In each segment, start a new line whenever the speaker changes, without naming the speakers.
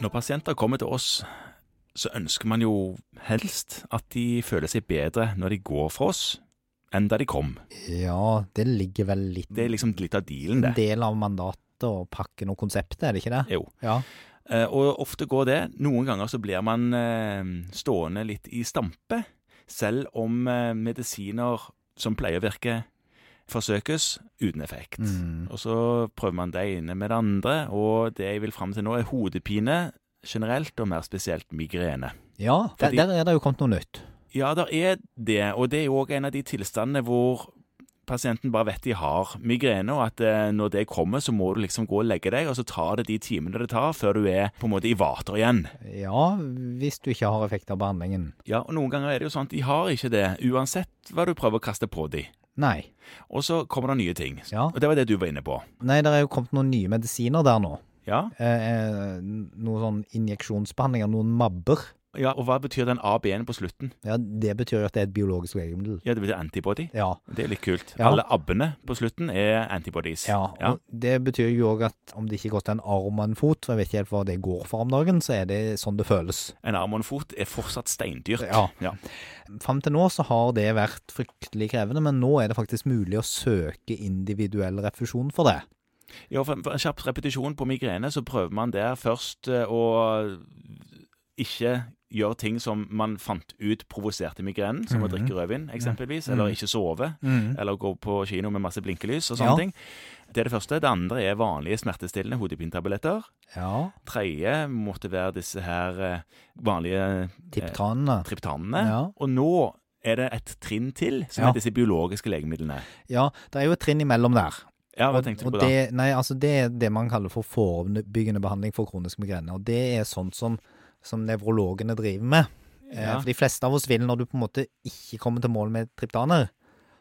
Når pasienter kommer til oss, så ønsker man jo helst at de føler seg bedre når de går fra oss, enn da de kom.
Ja, det ligger vel litt
Det er liksom litt av dealen,
en
det.
del av mandatet og pakken og konseptet, er det ikke det?
Jo.
Ja.
Eh, Og ofte går det. Noen ganger så blir man eh, stående litt i stampe, selv om eh, medisiner som pleier å virke, forsøkes uten effekt.
Mm.
Og så prøver man det ene med det andre, og det jeg vil fram til nå er hodepine generelt, og mer spesielt migrene.
ja der,
Fordi-
der er det jo kommet noe nytt.
Ja, der er det, og det er jo òg en av de tilstandene hvor pasienten bare vet de har migrene, og at eh, når det kommer, så må du liksom gå og legge deg, og så tar det de timene det tar før du er på en måte i vater igjen.
Ja, hvis du ikke har effekt av behandlingen.
Ja, og noen ganger er det jo sånn at de har ikke det, uansett hva du prøver å kaste på de.
Nei.
Og så kommer det nye ting.
Ja.
Og det var det du var inne på.
Nei, det er jo kommet noen nye medisiner der nå.
Ja,
Eh, eh, noen sånn injeksjonsbehandlinger, noen mabber.
ja og hva betyr den ABN på slutten?
Ja, det betyr jo at det er et biologisk legemiddel.
Ja, det betyr antibody.
Ja.
Det er litt kult.
Ja.
Alle abbene på slutten er antibodies.
ja. Og det betyr jo òg at om det ikke går til en arm og en fot, for jeg vet ikke helt hva det går for om dagen, så er det sånn det føles.
En arm og en fot er fortsatt steindyrt.
Ja.
Ja.
Fram til nå så har det vært fryktelig krevende, men nå er det faktisk mulig å søke individuell refusjon for det.
Ja, for for en kjapp repetisjon på migrene, så prøver man der først eh, å ikke gjøre ting som man fant ut provoserte migrenen, som å
Mhm.
drikke rødvin eksempelvis, eller ikke sove, eller gå på kino med masse blinkelys og sånne
Ja.
ting. Det er det første. Det andre er vanlige smertestillende hodepinetabletter.
Ja.
Tredje måtte være disse her eh, vanlige
Tipptranene.
triptanene.
Ja.
Og nå er det et trinn til, som
Ja.
er disse biologiske legemidlene.
Ja, det er jo et trinn imellom der.
Ja, hva
Og-
tenkte du
og
på da?
Det, nei, altså det er det man kaller for forebyggende behandling for kronisk migrene. Og det er sånt som, som nevrologene driver med. Eh,
Ja.
For de fleste av oss vil, når du på en måte ikke kommer til mål med triptaner,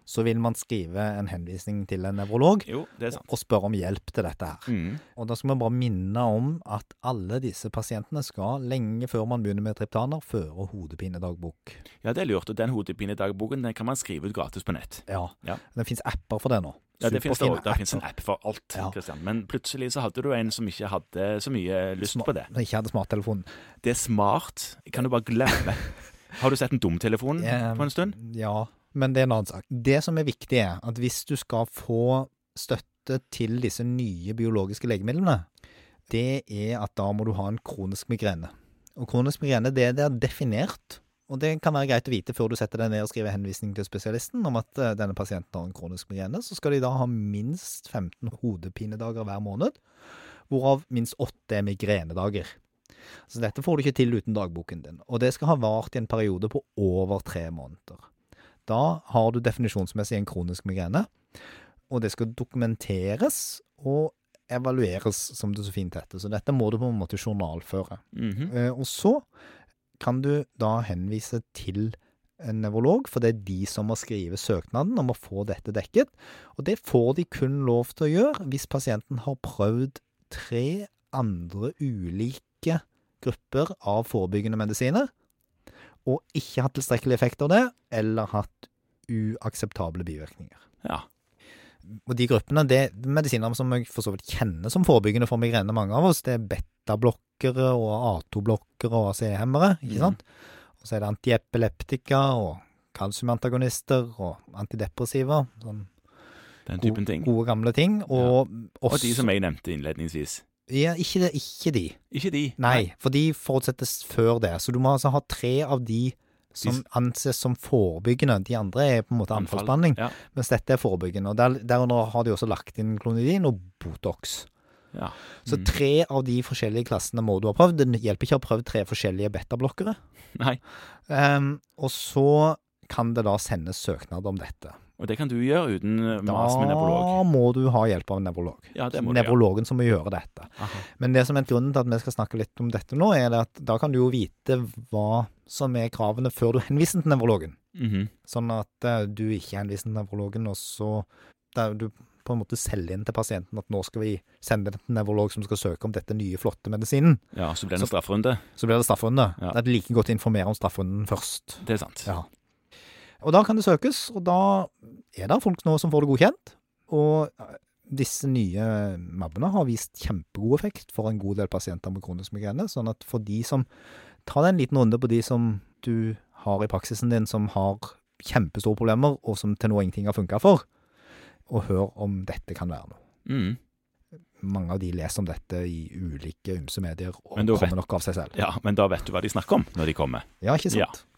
så vil man skrive en henvisning til en nevrolog
Jo, det er sant.
og spørre om hjelp til dette her.
Mhm.
Og da skal vi bare minne om at alle disse pasientene skal, lenge før man begynner med triptaner, føre hodepinedagbok.
Ja, det er lurt. Og den hodepinedagboken den kan man skrive ut gratis på nett.
Ja.
Ja.
Det fins apper for det nå.
Ja, det finnes det også.
Superfine
Der finnes en
apper.
app for alt.
Ja.
Kristian. Men plutselig så hadde du en som ikke hadde så mye lyst
Smart-
på det.
Som ikke hadde smarttelefon.
Det er smart. Kan du bare glemme. Har du sett en dumtelefon
Eh,
på en stund?
Ja, men det er en annen sak. Det som er viktig, er at hvis du skal få støtte til disse nye biologiske legemidlene, det er at da må du ha en kronisk migrene. Og kronisk migrene, det, det er definert. Og det kan være greit å vite før du setter deg ned og skriver henvisning til spesialisten om at eh, denne pasienten har en kronisk migrene. Så skal de da ha minst 15 hodepinedager hver måned, hvorav minst 8 er migrenedager. Så dette får du ikke til uten dagboken din. Og det skal ha vart i en periode på over tre måneder. Da har du definisjonsmessig en kronisk migrene, og det skal dokumenteres og evalueres, som det så fint heter. Så dette må du på en måte journalføre.
Mhm.
Eh, Og så kan du da henvise til en nevrolog, for det er de som må skrive søknaden om å få dette dekket. Og det får de kun lov til å gjøre hvis pasienten har prøvd tre andre ulike grupper av forebyggende medisiner, og ikke hatt tilstrekkelig effekt av det, eller hatt uakseptable bivirkninger.
Ja.
Og de gruppene, det er medisiner som jeg for så vidt kjenner som forebyggende for migrene, mange av oss, det er betablokkere og A2-blokkere og ACE-hemmere,
Mhm.
ikke sant? Og så er det antiepileptika og kalsiumantagonister og antidepressiva, sånn
Den
gode,
typen ting.
gode gamle ting.
Og
Og, også,
de som jeg nevnte innledningsvis.
ja, ikke, det, ikke de.
Ikke de.
Nei, for de forutsettes før det. Så du må altså ha tre av de som
s-
anses som forebyggende. De andre er på en måte
Anfall.
anfallsbehandling.
Ja.
Mens dette er forebyggende. Og der, derunder har de også lagt inn klonidin og Botox.
Ja.
Så
Mm.
tre av de forskjellige klassene må du ha prøvd. Det hjelper ikke å ha prøvd tre forskjellige betablokkere.
Nei.
Ehm, og så kan det da sendes søknad om dette.
Og det kan du gjøre uten eh, mas med nevrolog.
Da må du ha hjelp av en nevrolog.
Ja, det må du gjøre.
Nevrologen som må gjøre dette.
Aha.
Men det som er grunnen til at vi skal snakke litt om dette nå, er det at da kan du jo vite hva som er kravene før du henviser til nevrologen.
Mhm.
Sånn at eh, du ikke henviser til nevrologen, og så der du på en måte selger inn til pasienten at nå skal vi sende det til en nevrolog som skal søke om dette nye, flotte medisinen.
Ja, så blir det
Så-
en strafferunde.
Så blir det strafferunde.
Ja.
Det er like godt å informere om strafferunden først.
Det er sant.
Ja. Og da kan det søkes, og da er det folk nå som får det godkjent. Og Disse nye mabbene har vist kjempegod effekt for en god del pasienter med kronisk migrene. Sånn at for de som Ta deg en liten runde på de som du har i praksisen din, som har kjempestore problemer, og som til nå ingenting har funka for, og hør om dette kan være noe.
Mm.
Mange av de leser om dette i ulike ymse medier og
Men da
kommer nok av seg selv.
Ja, men da vet du hva de snakker om når de kommer.
Ja, ikke sant?